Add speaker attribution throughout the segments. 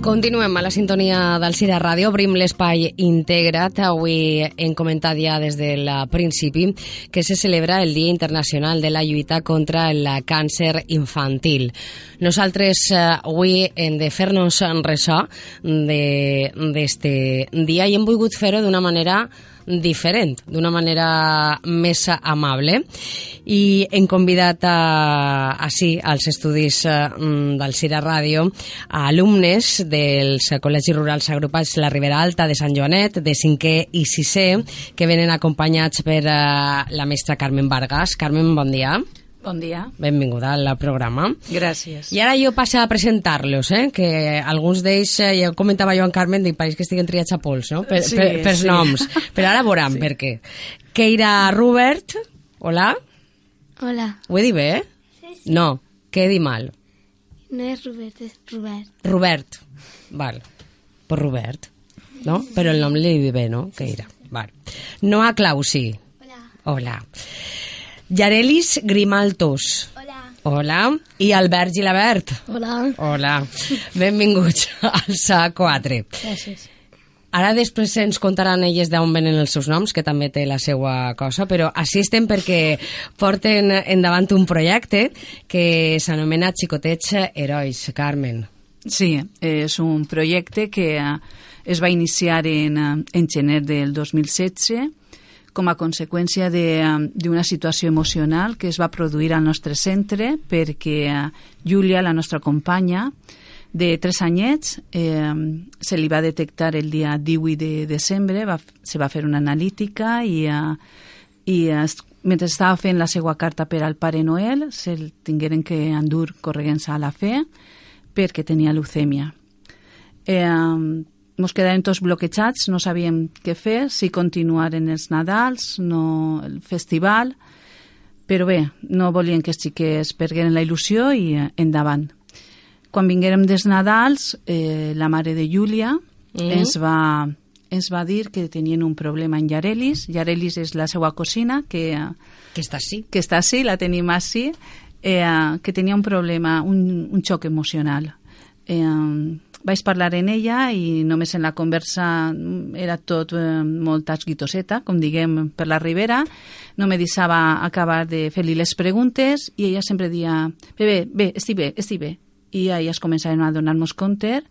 Speaker 1: Continuem a la sintonia del Cira Ràdio. Obrim l'espai integrat. Avui hem comentat ja des del principi que se celebra el Dia Internacional de la Lluita contra el Càncer Infantil. Nosaltres eh, avui hem de fer-nos ressò d'aquest dia i hem volgut fer-ho d'una manera diferent, d'una manera més amable. I hem convidat a, a sí, als estudis eh, del Cira Ràdio a alumnes dels col·legis rurals agrupats la Ribera Alta de Sant Joanet, de 5è i 6è, que venen acompanyats per eh, la mestra Carmen Vargas. Carmen, bon dia.
Speaker 2: Bon dia.
Speaker 1: Benvinguda al programa.
Speaker 2: Gràcies.
Speaker 1: I ara jo passo a presentar-los, eh? que alguns d'ells, eh, ja ho comentava jo en Carmen, dic, pareix que estiguen triats a pols, no? Per,
Speaker 2: Sí,
Speaker 1: per, pels
Speaker 2: sí.
Speaker 1: noms. Però ara veuran sí. per què. Keira Rubert, hola,
Speaker 3: Hola,
Speaker 1: ho he dit bé? eh?
Speaker 3: Sí, sí.
Speaker 1: No, que he dit mal.
Speaker 3: no és Robert, és Robert.
Speaker 1: Robert, val, per Robert, no? Però el nom li he dit bé, no? Keira, val. Noa Clausi,
Speaker 3: Hola.
Speaker 1: hola. Yarelis Grimaltos,
Speaker 3: Hola.
Speaker 1: hola. I Albert Gilabert,
Speaker 3: Hola.
Speaker 1: Hola, benvinguts al SA4.
Speaker 3: Gràcies.
Speaker 1: Ara després ens contaran elles d'on venen els seus noms, que també té la seva cosa, però assisten perquè porten endavant un projecte que s'anomena Xicotets Herois, Carmen.
Speaker 2: Sí, és un projecte que eh, es va iniciar en, eh, en gener del 2016 com a conseqüència de, eh, d'una situació emocional que es va produir al nostre centre perquè eh, Júlia, la nostra companya, de 3 anyets, eh, se li va detectar el dia 18 de desembre, va, f- se va fer una analítica i, eh, i es, mentre estava fent la seva carta per al Pare Noel, se'l tingueren que endur corregents a la fe perquè tenia leucèmia. Eh, ens quedàvem tots bloquejats, no sabíem què fer, si continuar en els Nadals, no el festival, però bé, no volien que els xiquets pergueren la il·lusió i eh, endavant. Quan vinguérem des Nadals, eh, la mare de Júlia
Speaker 1: Mhm.
Speaker 2: mm. ens, va, ens va dir que tenien un problema en Yarelis. Yarelis és la seva cosina, que eh,
Speaker 1: Que està així.
Speaker 2: que està així, la tenim així, eh, que tenia un problema, un, un xoc emocional. Eh, vaig parlar en ella i només en la conversa mm, era tot eh, molta esguitoseta, com diguem, per la Ribera. No me deixava acabar de fer-li les preguntes i ella sempre dia bé, bé, bé, estic bé, estic bé. I ahir es començaven a donar-nos compte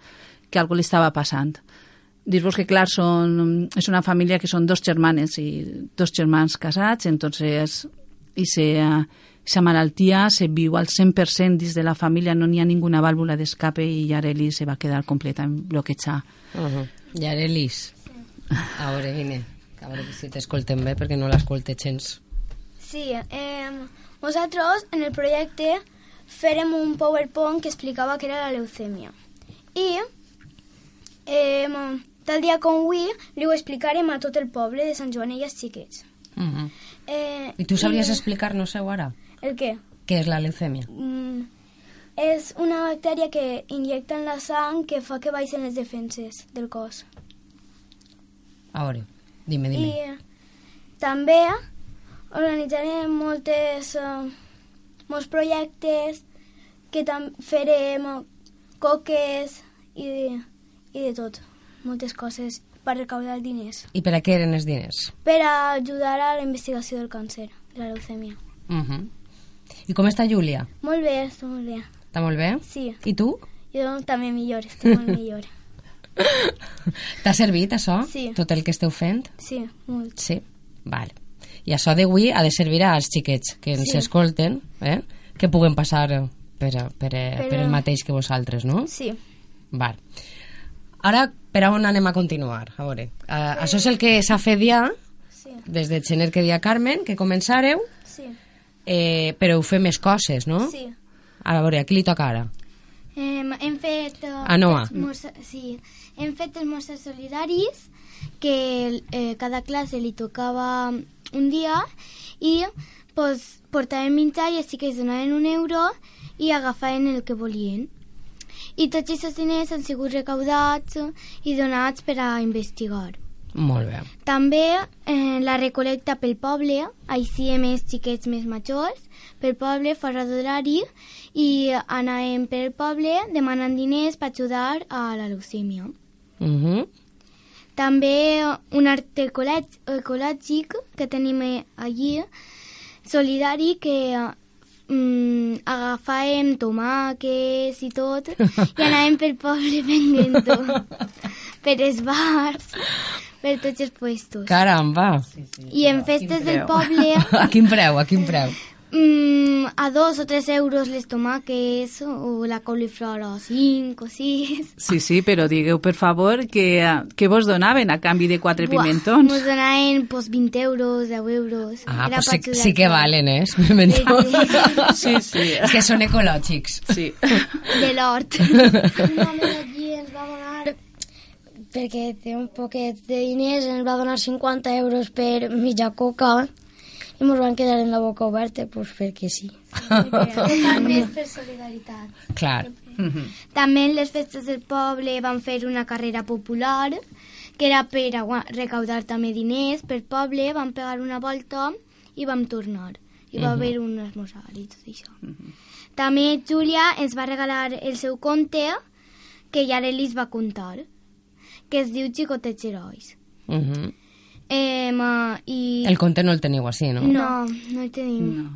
Speaker 2: que algú li estava passant. Dir-vos que, clar, són, és una família que són dos germanes i dos germans casats, entonces i se, sa malaltia se viu al 100% dins de la família, no n'hi ha ninguna vàlvula d'escape i Yareli se va quedar completament bloquejada.
Speaker 1: Uh -huh. Yarelis, a veure, vine. A veure si t'escoltem bé, perquè no l'escolte gens.
Speaker 4: Sí, eh, nosaltres en el projecte fèrem un PowerPoint que explicava què era la leucèmia. I eh, tal dia com avui li ho explicarem a tot el poble de Sant Joan i els xiquets.
Speaker 1: Uh -huh.
Speaker 4: Eh, mm,
Speaker 1: I tu sabries explicar-nos-ho ara?
Speaker 4: El què?
Speaker 1: Què és la leucèmia?
Speaker 4: Mm, és una bactèria que injecta en la sang que fa que baixen les defenses del cos.
Speaker 1: A veure, dime, dime.
Speaker 4: I eh, també organitzarem moltes, eh, molts projectes que tam farem eh, coques i de, i de tot, moltes coses per recaudar diners,
Speaker 1: I per a què eren els diners?
Speaker 4: per a ajudar a la investigació del càncer, de la leucèmia.
Speaker 1: Uh -huh. I com està Júlia?
Speaker 4: Molt bé, està molt bé.
Speaker 1: Està molt bé?
Speaker 4: Sí,
Speaker 1: I tu?
Speaker 4: jo també millor, estic molt millor.
Speaker 1: T'ha servit això?
Speaker 4: Sí.
Speaker 1: Tot el que esteu fent?
Speaker 4: Sí, molt.
Speaker 1: Sí. Vale. I això d'avui ha de servir als xiquets que ens
Speaker 4: Sí.
Speaker 1: escolten, eh? que puguen passar per, per, per, eh, per el mateix que vosaltres, no?
Speaker 4: Sí.
Speaker 1: Val. Ara, per on anem a continuar? A veure, uh, això és el que s'ha fet ja,
Speaker 4: Sí,
Speaker 1: des de gener que dia Carmen, que començareu,
Speaker 4: sí,
Speaker 1: eh, però heu fet més coses, no?
Speaker 4: sí. Em,
Speaker 1: A veure, a qui li toca ara?
Speaker 3: Um, hem fet...
Speaker 4: eh,
Speaker 3: Uh,
Speaker 4: Ah,
Speaker 1: A Noa.
Speaker 3: esmorza- sí, hem fet esmorzars solidaris que eh, cada classe li tocava un dia i pues, portaven menjar i així que es donaven un euro i agafaven el que volien. I tots aquests diners han sigut recaudats i donats per a investigar.
Speaker 1: Molt bé.
Speaker 3: També eh, la recol·lecta pel poble, així a més xiquets més majors, pel poble fora d'horari, i anàvem pel poble demanant diners per ajudar a la leucèmia.
Speaker 1: Mhm.
Speaker 3: També un arte ecològ- ecològic que tenim eh, allí, solidari, que eh, mm, agafàvem tomàquets i tot i anàvem pel poble venguent-ho. per els bars, per tots els puestos.
Speaker 1: Caramba!
Speaker 3: I en festes del poble,
Speaker 1: A quin preu, a quin preu?
Speaker 3: mm, a dos o tres euros les tomaques, o la coliflor a cinc o sis.
Speaker 2: Sí, sí, però digueu, per favor, que, eh, que vos donaven a canvi de quatre pimentons.
Speaker 3: Nos donaven pues, 20 euros, 10 euros.
Speaker 1: Ah,
Speaker 3: Era
Speaker 1: pues
Speaker 3: per
Speaker 1: sí,
Speaker 3: ajudar.
Speaker 1: sí que valen, eh? els pimentons.
Speaker 2: Sí, sí.
Speaker 1: És que són ecològics.
Speaker 2: Sí.
Speaker 3: De l'hort.
Speaker 4: Un home d'allí ens va donar perquè té un poquet de diners, ens va donar 50 euros per mitja coca i ens van quedar en la boca oberta, doncs perquè sí.
Speaker 3: També és per solidaritat.
Speaker 1: Clar.
Speaker 2: Mhm.
Speaker 3: També en les festes del poble van fer una carrera popular que era per a gua- recaudar també diners pel poble, van pegar una volta i vam tornar. Hi va haver un esmorzar i tot això. També Júlia ens va regalar el seu conte que ja l'Elis va contar, que es diu Xicotets Herois.
Speaker 1: Mhm.
Speaker 3: Eh, i...
Speaker 1: El conte no el teniu així, no?
Speaker 3: No, no el tenim.
Speaker 2: No.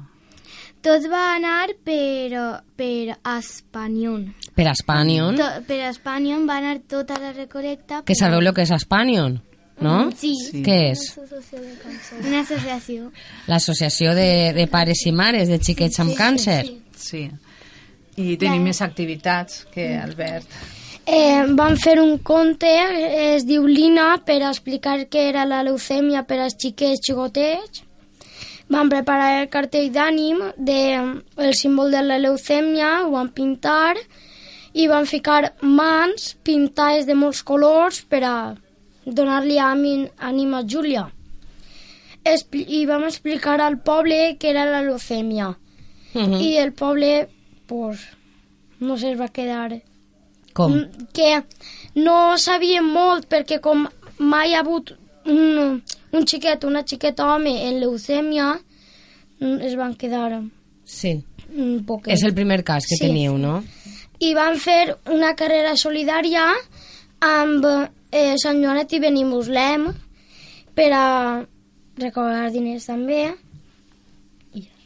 Speaker 3: Tot va anar per, per Espanyón.
Speaker 1: Per Aspanion,
Speaker 3: To, per Espanya va anar tota la recolecta.
Speaker 1: que sabeu lo que és Aspanion, no?
Speaker 3: Sí,
Speaker 2: Sí.
Speaker 1: Què és?
Speaker 3: una associació.
Speaker 1: L'associació de, de pares i mares de xiquets amb càncer.
Speaker 2: Sí. I tenim més activitats que Albert.
Speaker 4: Eh, van fer un conte, eh, es diu Lina, per explicar què era la leucèmia per als xiquets xicotets. Van preparar el cartell d'ànim del el símbol de la leucèmia, ho van pintar i van ficar mans pintades de molts colors per a donar-li ànim, ànim a Júlia. Expli I vam explicar al poble què era la leucèmia.
Speaker 1: Mhm.
Speaker 4: I el poble, pues, no se'ls va quedar
Speaker 1: Com?
Speaker 4: Mm, que no sabien molt perquè com mai ha hagut un, un xiquet, una xiqueta home en leucèmia, mm, es van quedar
Speaker 1: Sí.
Speaker 4: un poquet.
Speaker 1: És el primer cas que
Speaker 4: Sí.
Speaker 1: teniu, no?
Speaker 4: I van fer una carrera solidària amb eh, Sant Joanet i Benimuslem per a recaudar diners també.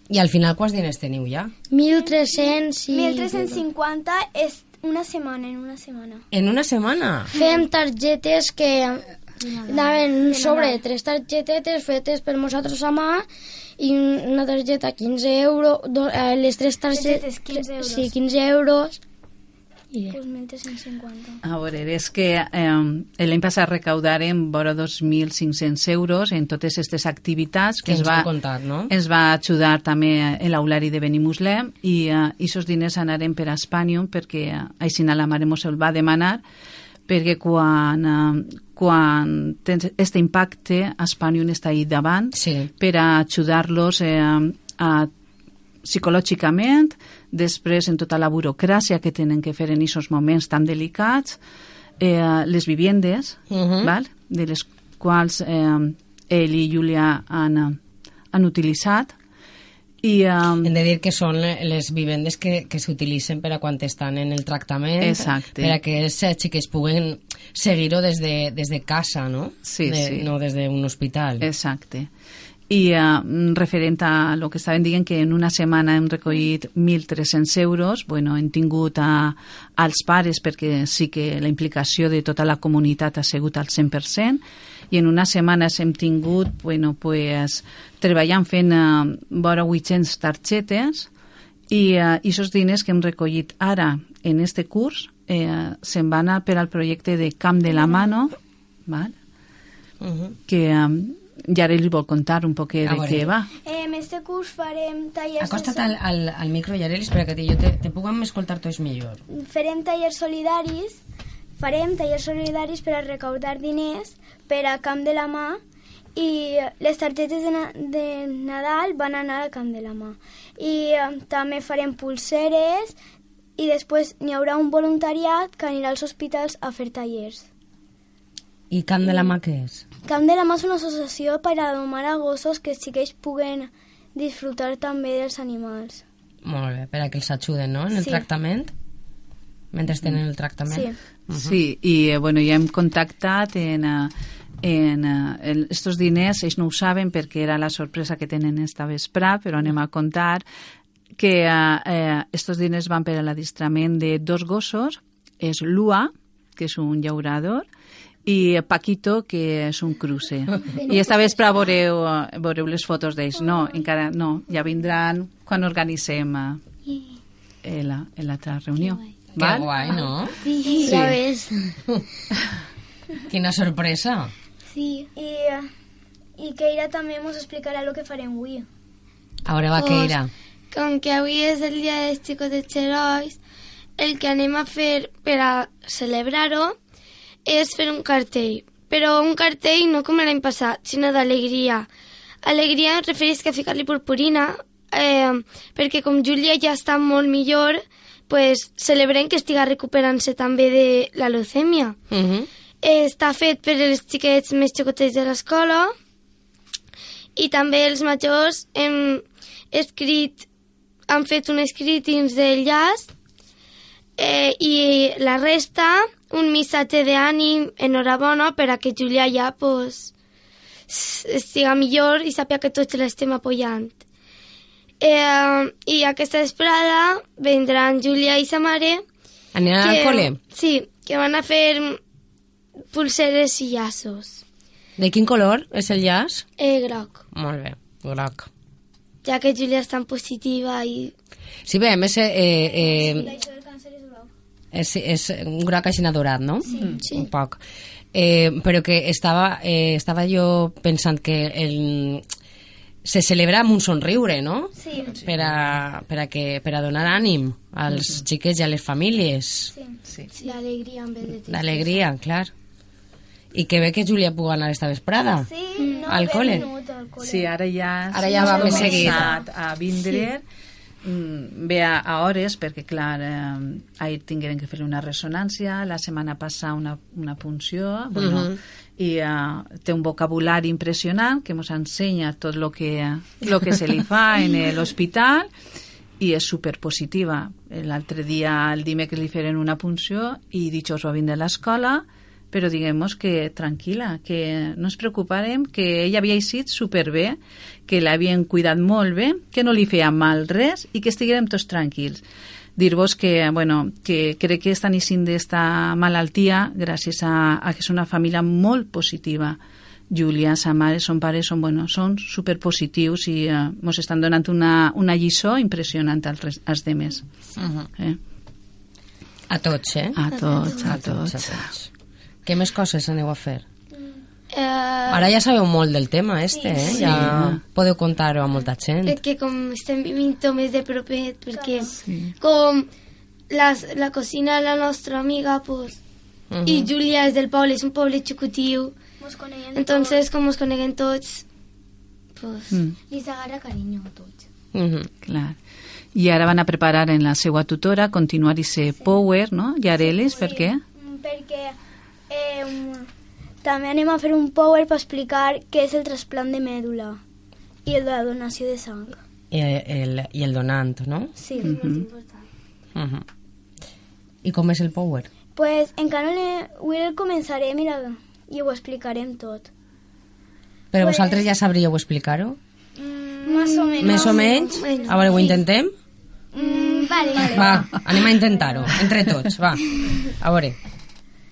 Speaker 1: I al final quants diners teniu ja?
Speaker 4: 1.300 i...
Speaker 3: 1350 és una setmana, en una setmana.
Speaker 1: En una setmana?
Speaker 4: Fem targetes que anaven sobre tres targetetes fetes per nosaltres a mà i una targeta 15 euros, do, eh, les tres targetes
Speaker 3: Targetes 15 euros.
Speaker 4: Sí, 15 euros. I bé.
Speaker 3: Pues 1350.
Speaker 2: A veure, és que eh, l'any passat recaudaren vora 2.500 euros en totes aquestes activitats
Speaker 1: Que
Speaker 2: que,
Speaker 1: ens
Speaker 2: es va,
Speaker 1: va contar, no?
Speaker 2: ens va ajudar també eh, l'aulari de Benimuslem i eh, aquests diners anaren per a Espanyol perquè eh, així la mare mos el va demanar perquè quan, eh, quan tens aquest impacte Espanyol està ahí davant
Speaker 1: Sí.
Speaker 2: per a ajudar-los eh, a, psicològicament, després en tota la burocràcia que tenen que fer en aquests moments tan delicats, eh, les vivendes,
Speaker 1: Mhm.
Speaker 2: val? de les quals eh, ell i Júlia han, eh, han utilitzat, i eh,
Speaker 1: Hem de dir que són les vivendes que, que s'utilitzen per a quan estan en el tractament,
Speaker 2: Exacte.
Speaker 1: per a que els eh, xiquets puguen seguir-ho des, de, des de casa, no?
Speaker 2: Sí,
Speaker 1: de,
Speaker 2: sí. Eh.
Speaker 1: No des d'un hospital.
Speaker 2: Exacte. I eh, referent a lo que estaven dient, que en una setmana hem recollit 1.300 euros, bueno, hem tingut a, als pares perquè sí que la implicació de tota la comunitat ha sigut al 100%, i en una setmana hem tingut, bueno, pues, treballant fent eh, vora 800 targetes, i eh, aquests diners que hem recollit ara en este curs eh, se'n van a per al projecte de Camp de la Mano, val?
Speaker 1: Mhm.
Speaker 2: que um, ja ara li vol contar un poquet
Speaker 1: A
Speaker 2: de
Speaker 1: veure.
Speaker 2: què va.
Speaker 4: En este curs farem tallers,
Speaker 1: Acosta't al, al, al micro, Yarel, espera que te, jo te, te puguem escoltar tots millor.
Speaker 4: farem tallers solidaris, farem tallers solidaris per a recaudar diners per a Camp de la Mà i les targetes de, na de Nadal van anar a Camp de la Mà. I eh, també farem pulseres i després n'hi haurà un voluntariat que anirà als hospitals a fer tallers.
Speaker 1: I Camp de la Mà què és?
Speaker 4: Camp de la Mà és una associació per a domar a gossos que sí que ells puguen disfrutar també dels animals.
Speaker 1: Molt bé, per a que els ajuden, no?, en el
Speaker 4: Sí.
Speaker 1: tractament. Mentre tenen el tractament.
Speaker 4: Sí.
Speaker 2: Sí, i eh, bueno, ja hem contactat en, eh, en, eh, el- estos diners, ells no ho saben perquè era la sorpresa que tenen esta vesprà, però anem a contar que eh, eh, estos diners van per a l'adiestrament de dos gossos, és Lua, que és un llaurador, i Paquito, que és un cruce. I esta vespre veureu, eh, veureu les fotos d'ells. No, encara no, ja vindran quan organitzem
Speaker 4: I,
Speaker 2: eh, la, l'altra reunió.
Speaker 1: Que guai, no?
Speaker 3: Sí,
Speaker 2: Sí.
Speaker 3: ya ves.
Speaker 1: Quina sorpresa.
Speaker 3: Sí.
Speaker 4: i, eh, i Keira també ens explicarà el que farem avui.
Speaker 1: Ahora va que irà.
Speaker 5: Com que avui és el dia dels xicos de Xerois, el que anem a fer per a celebrar-ho és fer un cartell. Però un cartell no com l'any passat, sinó d'alegria. Alegria em refereix que a ficar-li purpurina, eh, perquè com Júlia ja està molt millor, pues celebrem que estiga recuperant-se també de la leucèmia.
Speaker 1: Uh -huh.
Speaker 5: Eh, Està fet per els xiquets més xicotets de l'escola i també els majors hem escrit han fet un escrit dins del llaç eh, i la resta un missatge d'ànim enhorabona per a que Julià ja pues, s- siga millor i sàpiga que tots l'estem apoyant. Eh, I aquesta esperada vendran Julià i sa mare
Speaker 1: Aniran al col·le?
Speaker 5: Sí, que van a fer pulseres i llaços.
Speaker 1: De quin color és el llaç?
Speaker 5: Eh, groc,
Speaker 1: Molt bé, groc.
Speaker 5: ja que Júlia és tan positiva i...
Speaker 1: Sí, bé, a més, eh, eh, és, és un groc així adorat, no? Sí.
Speaker 5: sí.
Speaker 1: Un poc. Eh, però que estava, eh, estava jo pensant que el, se celebra amb un somriure, no?
Speaker 4: Sí,
Speaker 1: Per a, per a, que, per a donar ànim als xiquets i a les famílies.
Speaker 4: sí.
Speaker 2: Sí.
Speaker 3: Sí, alegría en vez de tristeza.
Speaker 1: D'alegria, clar. I que bé que Júlia pugui anar esta vesprada.
Speaker 4: Sí, no,
Speaker 1: Al
Speaker 4: ve
Speaker 1: cole.
Speaker 4: Minuto, al cole.
Speaker 2: Sí, ara ja,
Speaker 1: Ara ja va
Speaker 2: s'ha
Speaker 1: més
Speaker 2: començat
Speaker 1: seguit.
Speaker 2: a vindre mm, ve a, a hores perquè clar, eh, ahir tingueren que fer una ressonància, la setmana passada una, una punció bueno, i eh, té un vocabulari impressionant que ens ensenya tot el que, lo que se li fa en eh, l'hospital i és superpositiva. L'altre dia, el dimecres, li feren una punció i dijous va vindre a l'escola, però diguem-nos que tranquil·la, que no ens preocuparem, que ella havia eixit superbé, que l'havien cuidat molt bé, que no li feia mal res i que estiguérem tots tranquils. Dir-vos que, bueno, que crec que estan eixint d'esta malaltia gràcies a, a que és una família molt positiva. Júlia, sa mare, son pare, són, bueno, són superpositius i eh, mos estan donant una, una lliçó impressionant als, res- als demés. Eh?
Speaker 1: A tots, eh?
Speaker 2: A tots, a
Speaker 1: A
Speaker 2: tots.
Speaker 1: tots. Què més coses aneu a fer?
Speaker 5: Eh,
Speaker 1: Ara ja sabeu molt del tema este, eh? Ja podeu contar-ho a molta gent.
Speaker 5: perquè com estem vivint tot més de propet, perquè com la, la cocina de la nostra amiga, pues,
Speaker 1: Mhm.
Speaker 5: i Júlia és del poble, és un poble xucutiu,
Speaker 4: Mos coneixen
Speaker 5: entonces com us coneguen tots, pues,
Speaker 2: Mm.
Speaker 3: Les agarra cariño a todos.
Speaker 1: Mhm.
Speaker 2: Clar. I ara van a preparar en la seva tutora continuar i ser power, no? I areles, per què?
Speaker 4: Mm, Perquè eh, mm, també anem a fer un power per explicar què és el trasplant de mèdula i el de la donació de sang.
Speaker 1: I, el, I el donant, no?
Speaker 4: Sí. Mm-hmm.
Speaker 1: Mhm. I com és el power?
Speaker 4: pues, encara no l'he- avui el començarem i, la, i ho explicarem tot.
Speaker 1: Però vosaltres ja sabríeu explicar-ho?
Speaker 5: Mm,
Speaker 4: Més o
Speaker 1: Més o menys? A veure, ho intentem?
Speaker 3: vale.
Speaker 1: Va, anem a intentar-ho, entre tots, va. A veure.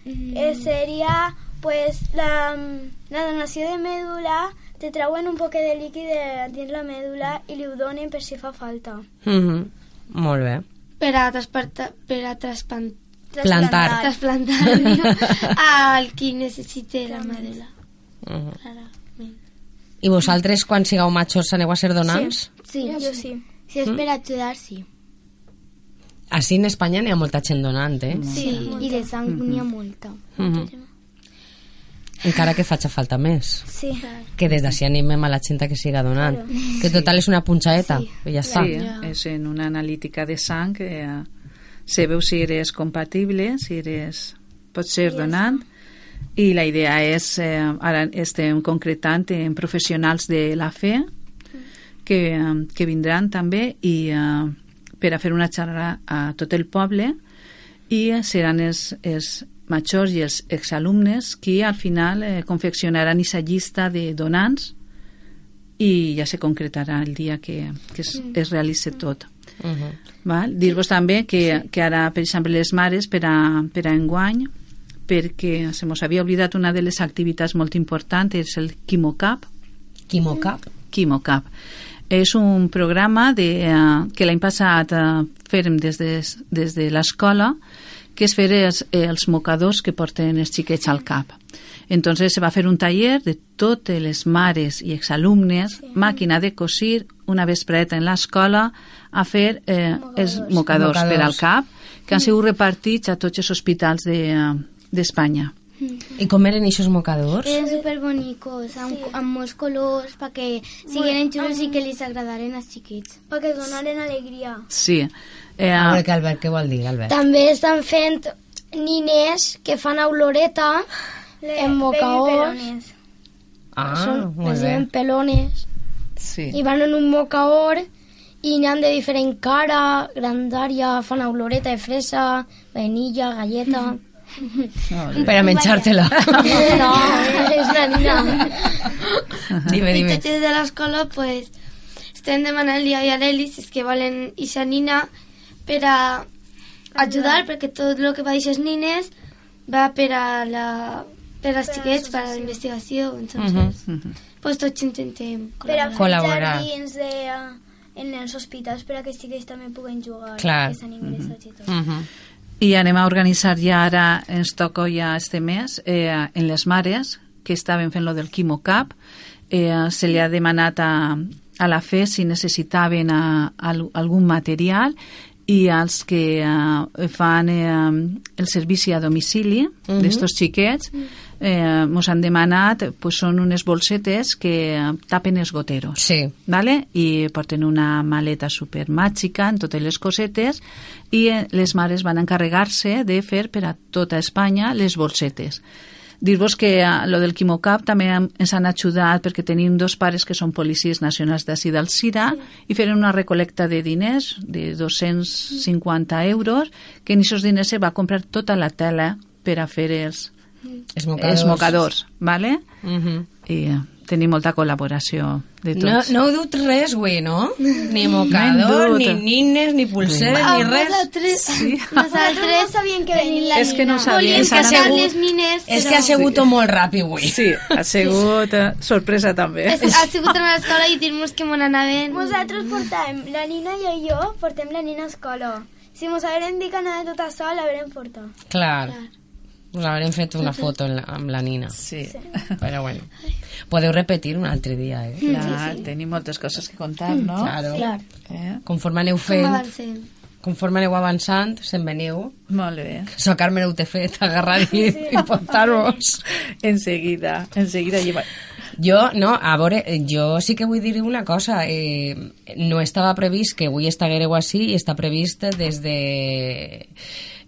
Speaker 4: Eh, seria pues, la, mm, la donació de mèdula, te trauen un poquet de líquid de dins la mèdula i li ho donen per si fa falta.
Speaker 1: Mhm. Molt bé.
Speaker 5: per a, trasparta- per a trasplantar
Speaker 1: Plantar.
Speaker 5: trasplantar digo, al qui necessite la medula.
Speaker 1: Mhm.
Speaker 5: clarament.
Speaker 1: I vosaltres, quan sigueu majors, aneu a ser donants?
Speaker 3: Sí,
Speaker 4: Jo sí.
Speaker 3: Si es per ajudar, sí.
Speaker 1: Així en Espanya n'hi ha molta gent donant, eh?
Speaker 3: Sí, i de sang n'hi ha molta.
Speaker 1: Mhm. Encara que faci falta més.
Speaker 4: Sí.
Speaker 1: Que des d'ací animem a la gent a que siga donant. Que total és una punxaeta, i ja està.
Speaker 2: Sí, és en una analítica de sang eh, se veu si eres compatible, si eres pots ser donant I la idea és, eh, ara estem concretant en professionals de la fe que, eh, que vindran també i, eh, per a fer una xerrada a tot el poble i seran els, els majors i els exalumnes que al final eh, confeccionaran aquesta llista de donants i ja se concretarà el dia que, que es, es realitzi tot.
Speaker 1: Uh -huh.
Speaker 2: Val? Dir-vos també que, que ara, per exemple, les mares per a, per a enguany, perquè se mos havia oblidat una de les activitats molt importants, és el Quimocap.
Speaker 1: Quimocap.
Speaker 2: Quimocap. És un programa de, eh, que l'any passat eh, fem des de, des de l'escola, que és fer els, els mocadors que porten els xiquets al cap. Entonces se va fer un taller de totes les mares i exalumnes, màquina de cosir, una vespreta en l'escola, a fer eh, els mocadors,
Speaker 1: Mocadors.
Speaker 2: per al cap, que han sigut repartits a tots els hospitals de- eh, d'Espanya. De,
Speaker 1: I com eren eixos mocadors?
Speaker 2: Eh.
Speaker 3: Eren superbonicos, amb, amb molts colors, perquè sigueren xulos i que li agradaren als xiquets.
Speaker 4: perquè donaren alegria.
Speaker 2: sí. Eh,
Speaker 1: A veure, Ah. que Albert, què vol dir,
Speaker 2: Ah.
Speaker 1: Albert?
Speaker 6: També estan fent nines que fan oloreta en mocaons.
Speaker 4: Pelones.
Speaker 1: Ah, molt
Speaker 6: Es
Speaker 1: bé.
Speaker 6: diuen pelones.
Speaker 2: sí.
Speaker 6: I van en un mocaor i n'han de diferent cara, grandària, fan oloreta de fresa, vainilla, galleta...
Speaker 2: Molt bé.
Speaker 1: Per a menjar-te-la.
Speaker 6: No, és una nina.
Speaker 1: dime,
Speaker 5: I
Speaker 1: dime.
Speaker 5: tots els de l'escola, pues, estem demanant-li a Yareli si és que volen ixa nina per a ajudar, perquè tot el que va d'ixes nines va per a la per als xiquets, per a la investigació, entonces,
Speaker 2: Mhm.
Speaker 5: pues tots intentem
Speaker 4: Per a
Speaker 5: col·laborar.
Speaker 1: Col·laborar.
Speaker 4: col·laborar. dins de, eh, en els hospitals per a que sigues també puguen jugar.
Speaker 1: Clar.
Speaker 4: Que s'han ingressat i tot.
Speaker 1: Mhm.
Speaker 2: I anem a organitzar ja ara, ens toca ja este mes, eh, en les mares, que estaven fent lo del Quimo Cap, eh, se li ha demanat a, a la FE si necessitaven a, a, al- algun material i als que eh, fan eh, el servici a domicili
Speaker 1: Mhm.
Speaker 2: d'estos xiquets eh, mos han demanat, pues, són unes bolsetes que eh, tapen els goteros
Speaker 1: Sí.
Speaker 2: vale? i porten una maleta super màgica en totes les cosetes i eh, les mares van encarregar-se de fer per a tota Espanya les bolsetes. Dir-vos que eh, lo del Quimocap també hem- ens han ajudat perquè tenim dos pares que són policies nacionals d'ací del Sira i feren una recolecta de diners de 250 euros que en aquests diners se va comprar tota la tela per a fer els,
Speaker 1: Els mocadors.
Speaker 2: els mocadors. Vale?
Speaker 1: Mhm.
Speaker 2: I eh, tenim molta col·laboració de tots.
Speaker 1: No, no heu dut res, avui, no? Ni
Speaker 2: No
Speaker 1: mocador,
Speaker 2: hem
Speaker 1: ni
Speaker 2: dut.
Speaker 1: nines, ni pulseres, ni res.
Speaker 2: Sí.
Speaker 4: Nosaltres no sabíem que venien la
Speaker 2: És que no sabia.
Speaker 5: Volíem
Speaker 1: És que ha
Speaker 5: cantar
Speaker 1: sigut-
Speaker 5: les nines,
Speaker 1: És
Speaker 5: però
Speaker 1: que ha sigut molt ràpid, avui.
Speaker 2: Sí, ha sigut eh, sorpresa també.
Speaker 5: és- ha sigut anar a l'escola i dir-nos que mon anaven.
Speaker 4: Nosaltres portàvem, la nina i jo portem la nina a escola. Si mos hagueren dit que anava tota sola, l'haurem portat.
Speaker 1: Clar. Us haurem fet una foto en la, amb la Nina.
Speaker 2: Sí.
Speaker 1: Però bueno. Podeu repetir un altre dia, eh?
Speaker 2: Clar, tenim moltes coses que contar, no?
Speaker 1: Claro.
Speaker 2: Eh?
Speaker 1: Conforme aneu
Speaker 5: Com
Speaker 1: fent,
Speaker 5: avancem?
Speaker 1: conforme aneu avançant, se'n veniu.
Speaker 2: Molt bé.
Speaker 1: Això, Carmen, ho t'he fet agarrar i, i portar-vos.
Speaker 2: Enseguida, enseguida llevar.
Speaker 1: Jo, no, a veure, jo sí que vull dir una cosa. Eh, no estava previst que avui estiguéreu així i està previst des de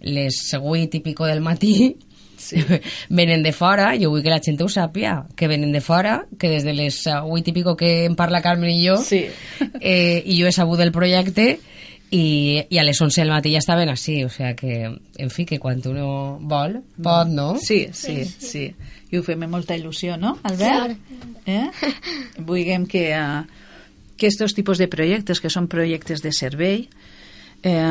Speaker 1: les 8 i pico del matí
Speaker 2: Sí.
Speaker 1: venen de fora, jo vull que la gent ho sàpia, que venen de fora, que des de les 8 i pico que en parla Carmen i jo,
Speaker 2: Sí.
Speaker 1: eh, i jo he sabut del projecte, i, i a les 11 del matí ja estaven així, o sigui que, en fi, que quan uno vol, pot, no?
Speaker 2: Sí, sí, sí. I ho fem amb molta il·lusió, no, Albert? Eh? Vulguem que, eh, que estos tipus de projectes, que són projectes de servei, eh,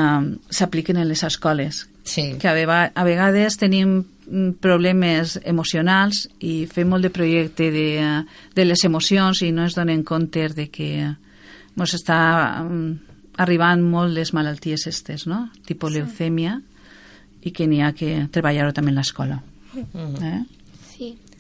Speaker 2: s'apliquen en les escoles,
Speaker 1: Sí.
Speaker 2: que a, vega- a vegades tenim mm, problemes emocionals i fem molt de projecte de, eh, de les emocions i no ens donen compte de que eh, mos està mm, arribant molt les malalties estes, no? Tipo leucèmia i que n'hi ha que treballar-ho també en l'escola. Eh?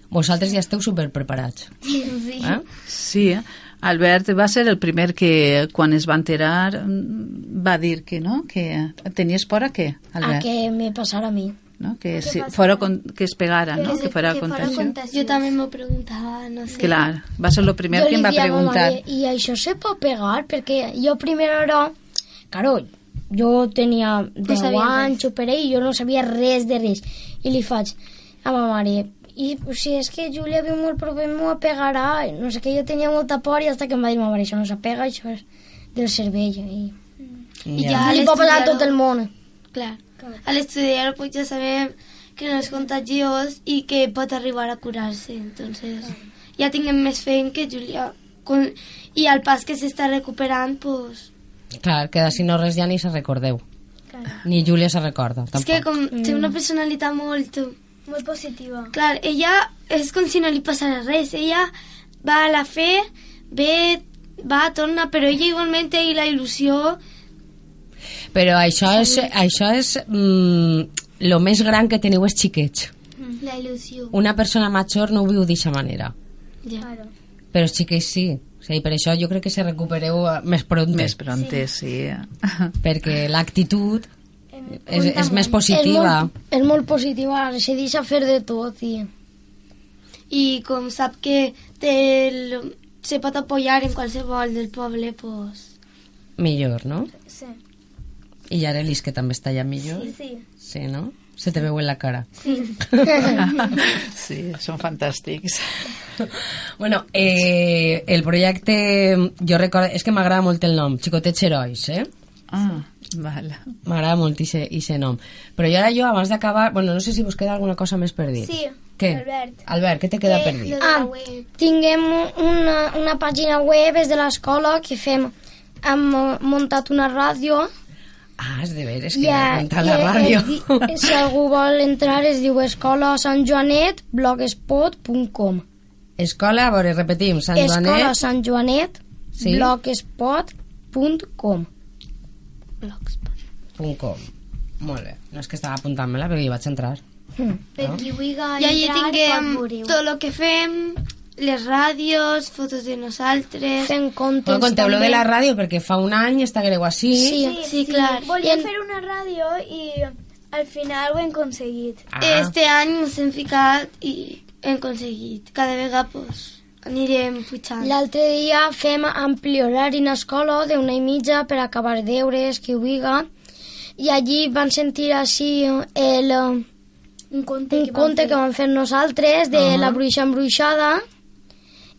Speaker 1: Vosaltres ja esteu superpreparats. Sí, sí. Eh?
Speaker 2: Sí, eh? Albert va ser el primer que quan es va enterar mm, va dir que no, que tenies por a què,
Speaker 6: A
Speaker 2: Albert?
Speaker 6: que me passara a mi.
Speaker 2: no? que, si, fora con, que es pegara, no? que fora contagio.
Speaker 5: Jo també m'ho preguntava, no sé.
Speaker 2: Clar, va ser el primer que em va
Speaker 6: a ma
Speaker 2: preguntar.
Speaker 6: mare, I això se pot pegar? Perquè jo a primera hora... Claro, jo tenia 10
Speaker 5: sabia
Speaker 6: anys o per ahí, jo no sabia res de res. I li faig a ma mare, I o sigui, és que Júlia viu molt proper, m'ho apegarà. I No sé què, jo tenia molta por i hasta que em va dir, ma mare, això no s'apega, això és del cervell. I,
Speaker 5: I
Speaker 6: ja,
Speaker 5: ja al
Speaker 6: li pot passar a
Speaker 5: estudiar-ho-
Speaker 6: tot el món.
Speaker 5: Clar, al estudiar-ho pues ja sabem que no és contagiós i que pot arribar a curar-se. Entonces, ja tinguem més fe en que Júlia... Con... I al pas que s'està recuperant, pues...
Speaker 1: Clar, que de si no res ja ni se recordeu. Ni Júlia se recorda,
Speaker 5: És que
Speaker 1: tampoc.
Speaker 5: com té una personalitat molt...
Speaker 4: Mm. Molt positiva.
Speaker 5: Clar, ella és com si no li passara res. Ella va a la fe, ve, va, torna, però ella igualment té la il·lusió...
Speaker 1: Però això és, això és mm, lo més gran que teniu és xiquets.
Speaker 4: Mm.
Speaker 5: La il·lusió.
Speaker 1: Una persona major no ho viu d'eixa manera,
Speaker 5: Ja.
Speaker 1: però els xiquets sí. O sigui, per això jo crec que se recupereu eh, més pront,
Speaker 2: Més prontes, sí.
Speaker 1: perquè l'actitud és, és més positiva.
Speaker 6: És molt, és molt positiva, se deixa fer de tot i...
Speaker 5: I com sap que té el... se pot apoyar en qualsevol del poble, pues...
Speaker 1: Millor, no?
Speaker 4: Sí.
Speaker 1: I Arelis, que també està ja millor. Sí,
Speaker 4: Sí.
Speaker 1: sí no? Se te veu en la cara.
Speaker 2: sí, són fantàstics.
Speaker 1: Bueno, eh, el projecte... Jo recordo... És que m'agrada molt el nom, Xicotets Herois, eh?
Speaker 2: Ah, val.
Speaker 1: M'agrada molt aquest nom. Però jo ara jo, abans d'acabar... Bueno, no sé si vos queda alguna cosa més per dir.
Speaker 4: Sí,
Speaker 1: Què?
Speaker 4: Albert.
Speaker 1: Albert, què te queda per dir?
Speaker 4: Ah.
Speaker 6: Ah, tinguem una, una pàgina web des de l'escola que fem hem eh, muntat una ràdio
Speaker 1: Ah, és de veres,
Speaker 6: i,
Speaker 1: que yeah,
Speaker 6: eh,
Speaker 1: aguanta la
Speaker 6: i, eh,
Speaker 1: ràdio.
Speaker 6: di- si algú vol entrar es diu escola Sant Joanet blogspot.com
Speaker 1: Escola, a veure, repetim, Sant
Speaker 6: escola
Speaker 1: Joanet...
Speaker 6: Sant Joanet
Speaker 1: Sí.
Speaker 6: blogspot.com
Speaker 1: .com. Molt bé. No és que estava apuntant-me-la, però hi vaig entrar.
Speaker 4: Per qui vulga
Speaker 5: I allí
Speaker 4: entrar, pot
Speaker 5: tinguem
Speaker 4: veure-ho.
Speaker 5: tot el que fem, les ràdios, fotos de nosaltres...
Speaker 6: fem
Speaker 1: Bueno,
Speaker 6: contes
Speaker 1: conteu-lo de
Speaker 6: Doncs també.
Speaker 1: la ràdio, perquè fa un any està greu així.
Speaker 6: Sí.
Speaker 5: Sí, sí, clar.
Speaker 4: Volia fer una ràdio i al final ho hem aconseguit.
Speaker 1: Ah,
Speaker 5: Este any ens hem ficat i hem aconseguit. Cada vegada pues, anirem pujant. La...
Speaker 6: L'altre dia fem ampli horari en escola d'una i mitja per acabar deures, que ho diga, i allí van sentir així el, un
Speaker 4: Un conte que
Speaker 6: conte que van fer nosaltres de la bruixa embruixada,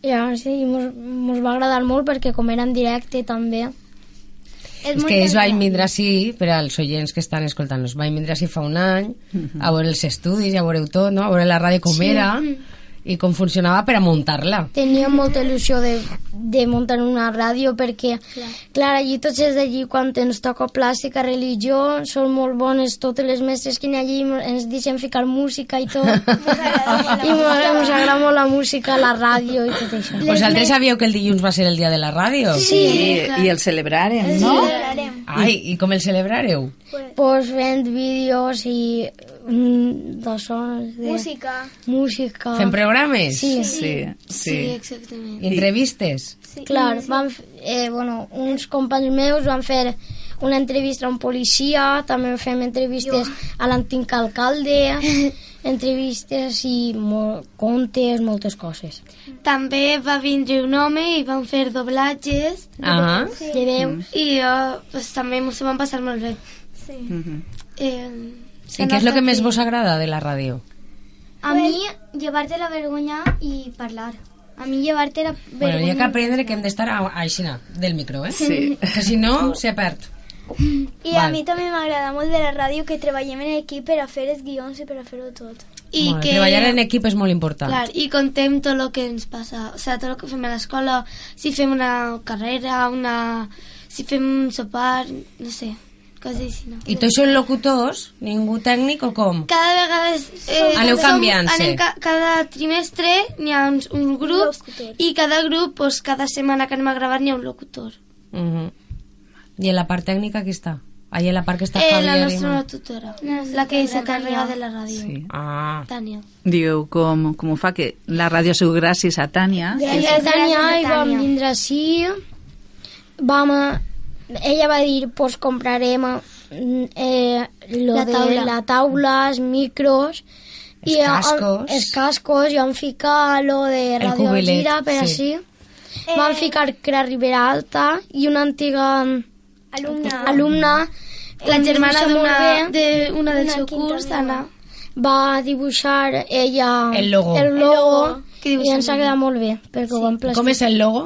Speaker 6: i llavors sí, mos, mos va agradar molt perquè com era en directe també.
Speaker 1: és que ells van vindre així, per als oients que estan escoltant-nos, van vindre així fa un any, a veure els estudis, ja veureu tot, no? a veure la ràdio com era i com funcionava per a muntar-la.
Speaker 6: Tenia molta il·lusió de, de muntar una ràdio perquè, clar, clar allí tots els d'allí, quan ens toca plàstica, religió, són molt bones totes les mestres que hi ha allí, ens deixen ficar música i tot. I ens agrada molt la música, la ràdio i tot això.
Speaker 1: Vosaltres sabíeu que el dilluns va ser el dia de la ràdio?
Speaker 2: Sí, I, i el celebrarem, no?
Speaker 1: Ai, i com el celebrareu?
Speaker 6: Pues fent vídeos i mm, de sons, de
Speaker 4: Música.
Speaker 6: música.
Speaker 1: Fent programes?
Speaker 6: Ah. Sí,
Speaker 2: Sí, sí.
Speaker 5: Exactament.
Speaker 1: I entrevistes?
Speaker 6: clar, van, f- eh, bueno, uns companys meus van fer una entrevista a un policia, també fem entrevistes a l'antic alcalde, entrevistes i molt, contes, moltes coses.
Speaker 5: També va vindre un home i van fer doblatges
Speaker 1: Ah,
Speaker 6: Sí. De veu.
Speaker 5: i uh, pues, també ens ho van passar molt bé.
Speaker 2: Mhm.
Speaker 5: Eh,
Speaker 1: I què és el que més vos agrada de la ràdio?
Speaker 4: A mi, llevar-te la vergonya i parlar. A mi, llevar-te la
Speaker 1: Bueno, hi ha que
Speaker 4: vergonya...
Speaker 1: aprendre que hem d'estar a- aixina, del micro, eh?
Speaker 2: Sí.
Speaker 1: Que si no, se perd.
Speaker 4: I a
Speaker 1: Val.
Speaker 4: mi també m'agrada molt de la ràdio que treballem en equip per a fer els guions i per a fer-ho tot.
Speaker 5: I
Speaker 1: Bueno,
Speaker 5: que,
Speaker 1: Treballar en equip és molt important.
Speaker 5: Clar, i contem tot el que ens passa, o sigui, tot el que fem a l'escola, si fem una carrera, una... si fem un sopar, no sé, coses així, no?
Speaker 1: I tots són locutors? Ningú tècnic o com?
Speaker 5: Cada vegada... És, eh,
Speaker 1: Aneu canviant-se.
Speaker 5: anem ca cada trimestre n'hi ha uns, uns grups
Speaker 4: Locutor.
Speaker 5: i cada grup, pues, cada setmana que anem a gravar n'hi ha un locutor.
Speaker 1: Mhm. I en la part tècnica qui està? Ahí en la part que està
Speaker 5: Eh, la
Speaker 1: Javier i-
Speaker 5: nostra tutora, la que s'encarrega de la ràdio.
Speaker 2: Sí.
Speaker 1: Ah,
Speaker 5: Tània.
Speaker 2: Diu com, com ho fa, que la ràdio ha sigut gràcies a Tània.
Speaker 6: Gràcies, Tània, i vam vindre així. Vam a... Ella va dir, pues comprarem mm, eh, lo
Speaker 5: La
Speaker 6: la taula.
Speaker 5: taula.
Speaker 6: de la taula, els micros...
Speaker 1: Els
Speaker 6: i vam-
Speaker 1: cascos.
Speaker 6: Els cascos, i vam ficar lo de
Speaker 1: El
Speaker 6: Radio
Speaker 1: cubelet,
Speaker 6: Gira, per
Speaker 1: sí.
Speaker 6: així. Vam ficar Crea Ribera Alta i una antiga mm,
Speaker 4: Alumna.
Speaker 6: alumna
Speaker 5: La germana
Speaker 6: Conduïa molt
Speaker 5: d'una
Speaker 6: bé.
Speaker 5: de, una del
Speaker 6: Una
Speaker 5: seu
Speaker 6: quinta
Speaker 5: curs,
Speaker 6: meva.
Speaker 5: Anna.
Speaker 6: va dibuixar ella
Speaker 7: El logo.
Speaker 6: el
Speaker 4: El
Speaker 6: logo,
Speaker 4: logo.
Speaker 7: Que dibuixa
Speaker 6: i ens
Speaker 7: el
Speaker 6: ha
Speaker 7: logo.
Speaker 6: quedat molt bé perquè ho van plasmar.
Speaker 7: Com és el logo?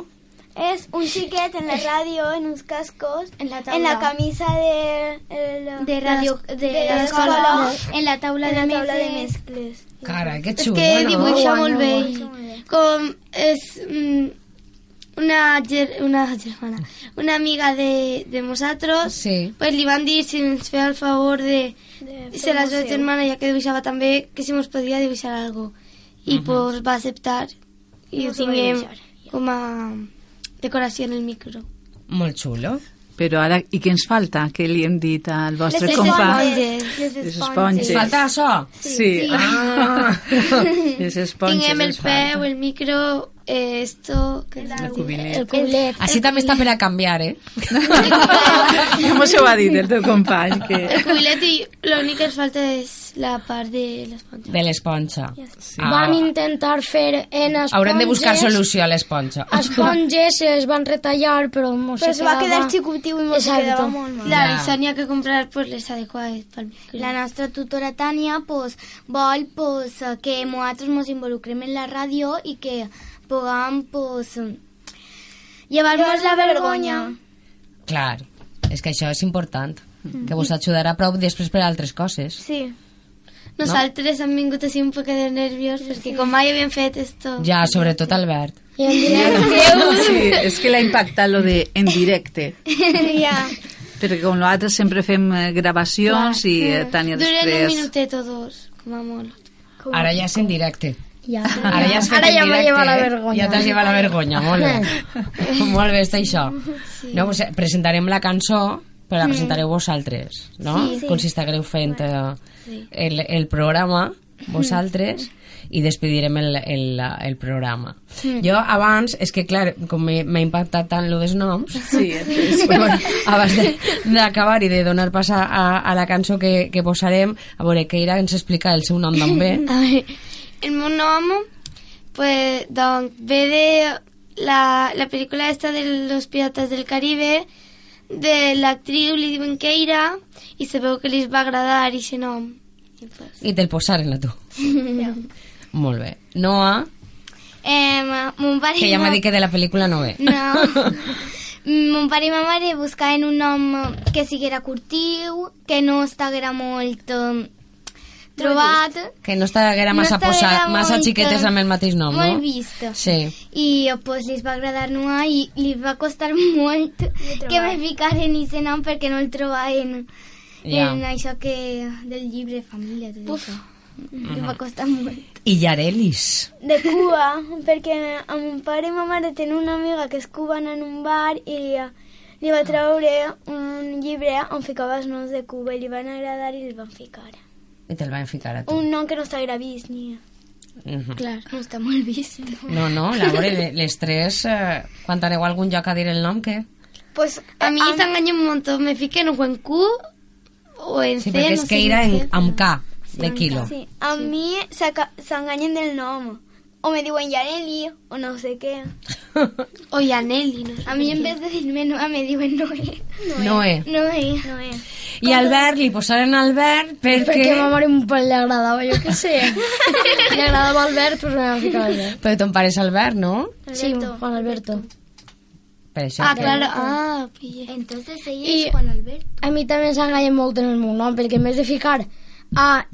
Speaker 4: Es un chiquet en la radio, en unos cascos, en la,
Speaker 3: tabla.
Speaker 4: camisa de, el-
Speaker 3: de radio de,
Speaker 4: la
Speaker 3: l'escola
Speaker 4: escola,
Speaker 3: en la taula
Speaker 4: en la
Speaker 3: de
Speaker 4: tabla de
Speaker 3: mestres.
Speaker 4: mezcles.
Speaker 7: Cara, que
Speaker 5: És
Speaker 7: xulo,
Speaker 5: que
Speaker 7: no?
Speaker 5: dibuixa molt bé.
Speaker 4: molt bé.
Speaker 5: Com és mm, una, ger una germana, una amiga de, de nosaltres,
Speaker 1: Sí.
Speaker 5: pues li van dir si ens feia el favor de, de ser la seva germana, ja que dibuixava també, que si ens podia dibuixar algo. I pues va acceptar i ho tinguem com a decoració em, en el micro.
Speaker 1: Molt xulo.
Speaker 2: Però ara, i què ens falta? Què li hem dit al vostre
Speaker 5: Les
Speaker 2: company?
Speaker 5: esponges.
Speaker 2: Les esponges.
Speaker 1: Ens falta això?
Speaker 2: Sí.
Speaker 1: Ah.
Speaker 2: Les esponges
Speaker 5: Tinguem em, el
Speaker 2: ens falta.
Speaker 5: peu, el micro, eh, esto... que-
Speaker 2: La cubileta.
Speaker 6: El culet.
Speaker 1: Així també està per a canviar, eh?
Speaker 2: Com se ho ha dit el teu company? Que...
Speaker 5: El cubilet i l'únic que ens falta és la part de l'esponja.
Speaker 1: De l'esponja.
Speaker 2: Sí.
Speaker 6: Van intentar fer en esponges.
Speaker 1: Ah. Haurem de buscar solució a l'esponja.
Speaker 6: Esponges es van retallar, però mos
Speaker 4: Pero se va a quedar
Speaker 6: chico.
Speaker 4: chicutiu y se
Speaker 6: Exacto.
Speaker 4: quedaba muy mal.
Speaker 5: Clar, i se n'hi ha que comprar pues, les adequades pel micro.
Speaker 3: La nostra tutora Tània pues, vol pues, que nosaltres ens involucrem en la ràdio i que puguem pues, llevar-nos la vergonya.
Speaker 1: Clar, és que això és important. Que vos ajudarà prou després per a altres coses.
Speaker 4: Sí.
Speaker 5: Nosaltres hem vingut així un poc de nervios perquè com mai havíem fet esto...
Speaker 1: Ja, sobretot Albert.
Speaker 6: I en diré,
Speaker 2: Sí, és que l'ha impactat lo de en directe.
Speaker 4: Ja.
Speaker 2: Perquè com nosaltres sempre fem eh, gravacions i eh, Tània
Speaker 5: Duren un
Speaker 2: després...
Speaker 5: minutet o dos, com a molt.
Speaker 1: Ara ja és en directe.
Speaker 6: ja.
Speaker 1: Ara ja has fet
Speaker 6: Ara
Speaker 1: en
Speaker 6: ja me
Speaker 1: directe,
Speaker 6: lleva la
Speaker 1: eh?
Speaker 6: vergonya.
Speaker 1: Ja t'has llevat la vergonya, molt bé. molt bé, està això. No, pues, eh, presentarem la cançó, però
Speaker 6: Mm.
Speaker 1: la presentareu vosaltres, no? Sí, sí. Com si estàgreu fent eh, el, el programa
Speaker 6: Mm.
Speaker 1: vosaltres i despedirem el, el, el programa.
Speaker 6: Mm.
Speaker 1: Jo abans, és que clar, com m'he- m'ha impactat tant lo dels noms,
Speaker 2: Sí, és
Speaker 1: Però bueno, abans de- d'acabar i de donar pas a, a, a la cançó que, que posarem, a veure, Keira ens explica el seu nom també.
Speaker 5: A veure, el meu nom pues, doncs, ve de la, la pel·lícula esta de los pirates del Caribe de l'actriu li diuen Keira i se veu que li va agradar aquest nom. I, pues,
Speaker 1: I te'l posaren a tu. Molt bé. Noa,
Speaker 3: Eh, mon pare...
Speaker 1: que ja m'ha
Speaker 3: no-
Speaker 1: dit que de la pel·lícula no ve.
Speaker 3: No. Mon pare i ma mare buscaven un nom que siguera curtiu, que no estiguera molt eh, trobat.
Speaker 1: Que no estàguera massa,
Speaker 3: No estàguera
Speaker 1: posa, massa
Speaker 3: molt,
Speaker 1: xiquetes amb el mateix nom,
Speaker 3: molt
Speaker 1: no?
Speaker 3: vist.
Speaker 1: Sí.
Speaker 3: I eh, pues, li va agradar Noa i li va costar molt que me ficaren i nom perquè no el trobaven
Speaker 1: Ja.
Speaker 3: en això que del llibre família. Tot això. Li va costar molt.
Speaker 1: I Yarelis.
Speaker 4: De Cuba, perquè a mon pare i ma mare tenen una amiga que és cubana en un bar i li, li va treure un llibre on ficava els noms de Cuba i li van agradar i el van ficar.
Speaker 1: I te'l van ficar a tu.
Speaker 4: Un nom que no s'ha vist ni...
Speaker 1: Mhm.
Speaker 3: Clar, no està molt vist.
Speaker 1: No, no, a veure, le- les tres, eh, quan aneu a algun lloc a dir el nom, què?
Speaker 4: Pues,
Speaker 5: A
Speaker 3: Ah,
Speaker 5: mí se engañan un montón. Me fiqué en en Q o en
Speaker 1: Sí,
Speaker 5: C.
Speaker 1: perquè
Speaker 5: no
Speaker 1: és
Speaker 5: sé
Speaker 1: que era
Speaker 5: en
Speaker 1: en,
Speaker 5: qué.
Speaker 1: amb K, de quilo.
Speaker 4: sí, a sí. mi s'aca- s'enganyen del nom. O me diuen Yareli, o no sé què.
Speaker 5: O Yaneli, no sé.
Speaker 3: A mi en vez de dir-me Noa me diuen Noé.
Speaker 1: Noé.
Speaker 3: Noé.
Speaker 4: Noé.
Speaker 1: I Albert, li posaren Albert perquè...
Speaker 6: Perquè a ma mare un pal li agradava, jo què sé. li agradava Albert, però no em ficava bé.
Speaker 1: Però ton pare és Albert, no?
Speaker 6: Sí, Juan Alberto.
Speaker 1: Per això
Speaker 5: Ah,
Speaker 1: que-
Speaker 5: claro. Ah, pillé.
Speaker 3: Entonces ella
Speaker 6: I-
Speaker 3: és Juan Albert.
Speaker 6: A mi també s'enganyen molt en el meu nom, perquè en vez de ficar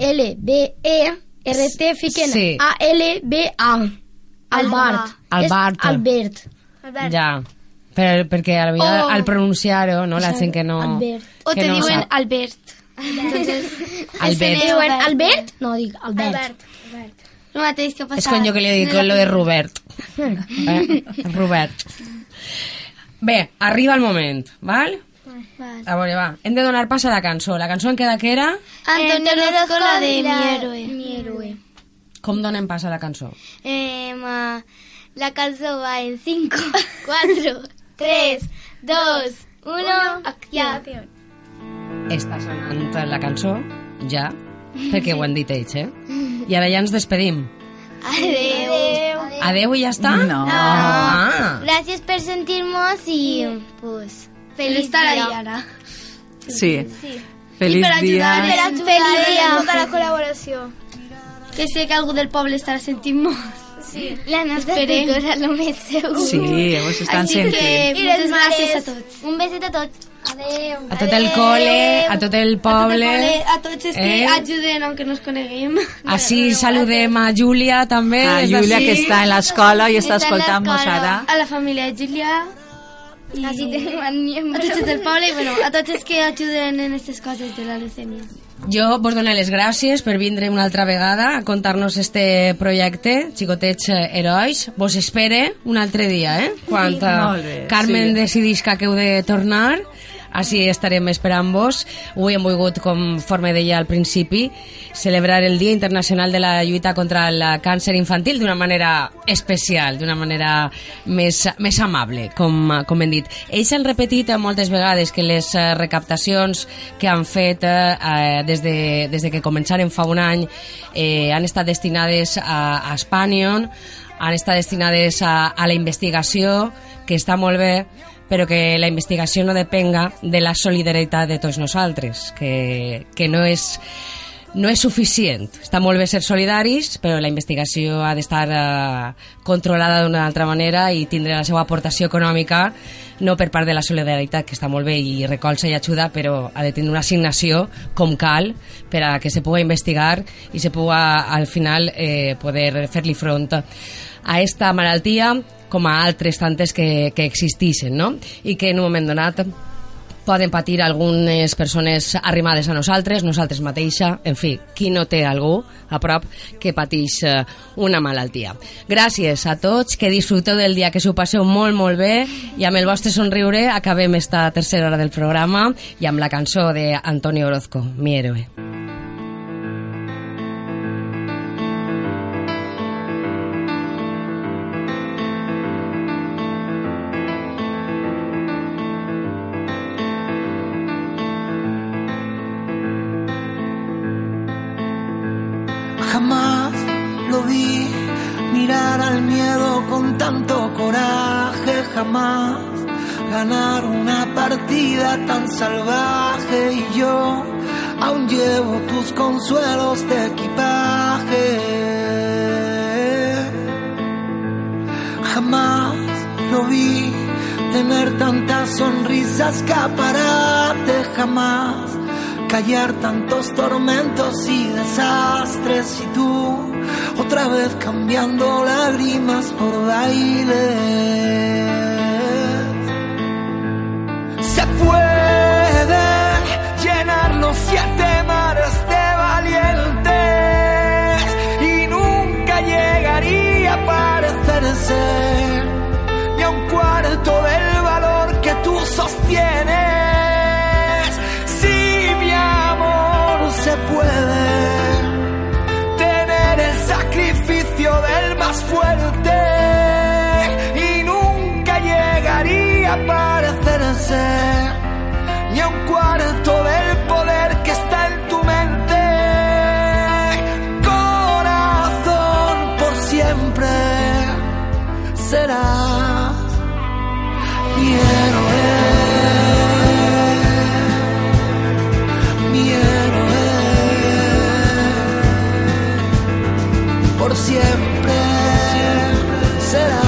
Speaker 6: A-L-B-E-R-T, E fiquen
Speaker 1: Sí.
Speaker 6: A-L-B-A. Albert.
Speaker 1: Alberto.
Speaker 6: És Albert.
Speaker 1: Ja. Per, perquè a la vegada, al pronunciar-ho, no, la gent que no...
Speaker 6: Albert.
Speaker 5: O
Speaker 1: que
Speaker 5: te
Speaker 1: no
Speaker 5: digo en
Speaker 1: sap.
Speaker 5: Albert. Entonces,
Speaker 1: Albert.
Speaker 6: Diuen Eh, Albert? No, dic Albert. Albert.
Speaker 5: no matéis que
Speaker 1: És
Speaker 5: pasaba.
Speaker 1: com jo que li dic lo de Robert. Eh? Robert. Bé, arriba el moment, val? A veure, va. Hem de donar pas a la cançó. La cançó en queda que era...
Speaker 5: Antonio Roscola de Mi Héroe.
Speaker 3: Mi héroe.
Speaker 1: Com donem pas a la cançó?
Speaker 3: Eh, ma, la cançó va en 5, 4, 3, 2, 1, acció.
Speaker 1: Està sonant la cançó, ja, perquè ho han dit ells, eh? I ara ja ens despedim.
Speaker 3: Adeu.
Speaker 1: Adeu i ja està?
Speaker 2: No.
Speaker 1: Ah.
Speaker 3: Gràcies per sentir-nos i, pues,
Speaker 5: Pero
Speaker 3: feliç
Speaker 5: está la
Speaker 3: dia.
Speaker 5: Diana.
Speaker 2: Sí. Feliç
Speaker 5: per ajudar
Speaker 2: dia.
Speaker 5: en-
Speaker 3: Per ajudar-nos
Speaker 4: Tota la col·laboració.
Speaker 5: que sé que algú del poble estarà sentint molt.
Speaker 3: Sí. La nostra
Speaker 5: Esperem.
Speaker 3: tutora, el més segur.
Speaker 2: Sí, vos estan
Speaker 5: Així que
Speaker 2: sentint.
Speaker 4: I
Speaker 5: moltes
Speaker 4: les mares.
Speaker 5: gràcies a tots.
Speaker 3: Un beset a tots.
Speaker 4: Adéu.
Speaker 1: A tot el cole, a tot el poble.
Speaker 5: A tots els que
Speaker 1: Eh?
Speaker 5: ajuden, aunque no es coneguem.
Speaker 1: Així saludem a Júlia també.
Speaker 2: A
Speaker 1: des
Speaker 2: Ah, Júlia,
Speaker 1: d'ací.
Speaker 2: que està en l'escola i
Speaker 3: Està
Speaker 2: està
Speaker 3: en
Speaker 2: escoltant-nos
Speaker 3: l'escola.
Speaker 2: ara.
Speaker 5: A la família de Júlia,
Speaker 3: I... Així tenim el
Speaker 5: a
Speaker 3: miembro.
Speaker 5: tots els del poble i bueno, a tots els que ajuden en aquestes coses de la leucèmia.
Speaker 1: Jo vos dono les gràcies per vindre una altra vegada a contar-nos este projecte, Xicotets eh, Herois. Vos espere un altre dia, eh? Quan eh,
Speaker 2: Molt bé,
Speaker 1: Carmen
Speaker 2: sí.
Speaker 1: decidisca que heu de tornar, així estarem esperant-vos. Avui hem volgut, conforme deia al principi, celebrar el Dia Internacional de la Lluita contra el Càncer Infantil d'una manera especial, d'una manera més, més amable, com, com hem dit. Ells han repetit moltes vegades que les eh, recaptacions que han fet eh, eh, des, de, des de que començaren fa un any eh, han estat destinades a, a Spanion, han estat destinades a, a la investigació, que està molt bé, però que la investigació no depenga de la solidaritat de tots nosaltres, que, que no és no és suficient. Està molt bé ser solidaris, però la investigació ha d'estar eh, controlada d'una altra manera i tindre la seva aportació econòmica, no per part de la solidaritat, que està molt bé i recolza i ajuda, però ha de tenir una assignació com cal per a que se pugui investigar i se puga, al final, eh, poder fer-li front a esta malaltia com a altres tantes que, que existeixen, no? I que en un moment donat poden patir algunes persones arrimades a nosaltres, nosaltres mateixa, en fi, qui no té algú a prop que pateix eh, una malaltia. Gràcies a tots, que disfruteu del dia, que s'ho passeu molt, molt bé i amb el vostre somriure acabem esta tercera hora del programa i amb la cançó d'Antonio Orozco, Mi héroe.
Speaker 7: Jamás lo vi mirar al miedo con tanto coraje, jamás ganar una partida tan salvaje y yo aún llevo tus consuelos de equipaje. Jamás lo vi tener tantas sonrisas caparate, jamás callar tantos tormentos y desastres y tú otra vez cambiando lágrimas por baile se pueden llenar los siete mares de valientes y nunca llegaría a parecerse ni a un cuarto del valor que tú sostienes. Si mi amor se puede tener el sacrificio del más fuerte y nunca llegaría a parecerse ni a un cuarto del poder que está en tu mente. Corazón por siempre serás mi héroe. Mi héroe por siempre será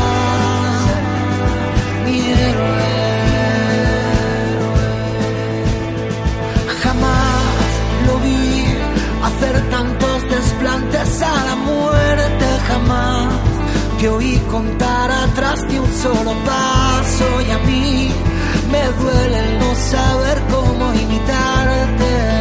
Speaker 7: mi héroe. Jamás lo vi hacer tantos desplantes a la muerte, jamás te oí contar atrás de un solo paso y a mí me duele el no saber cómo imitarte.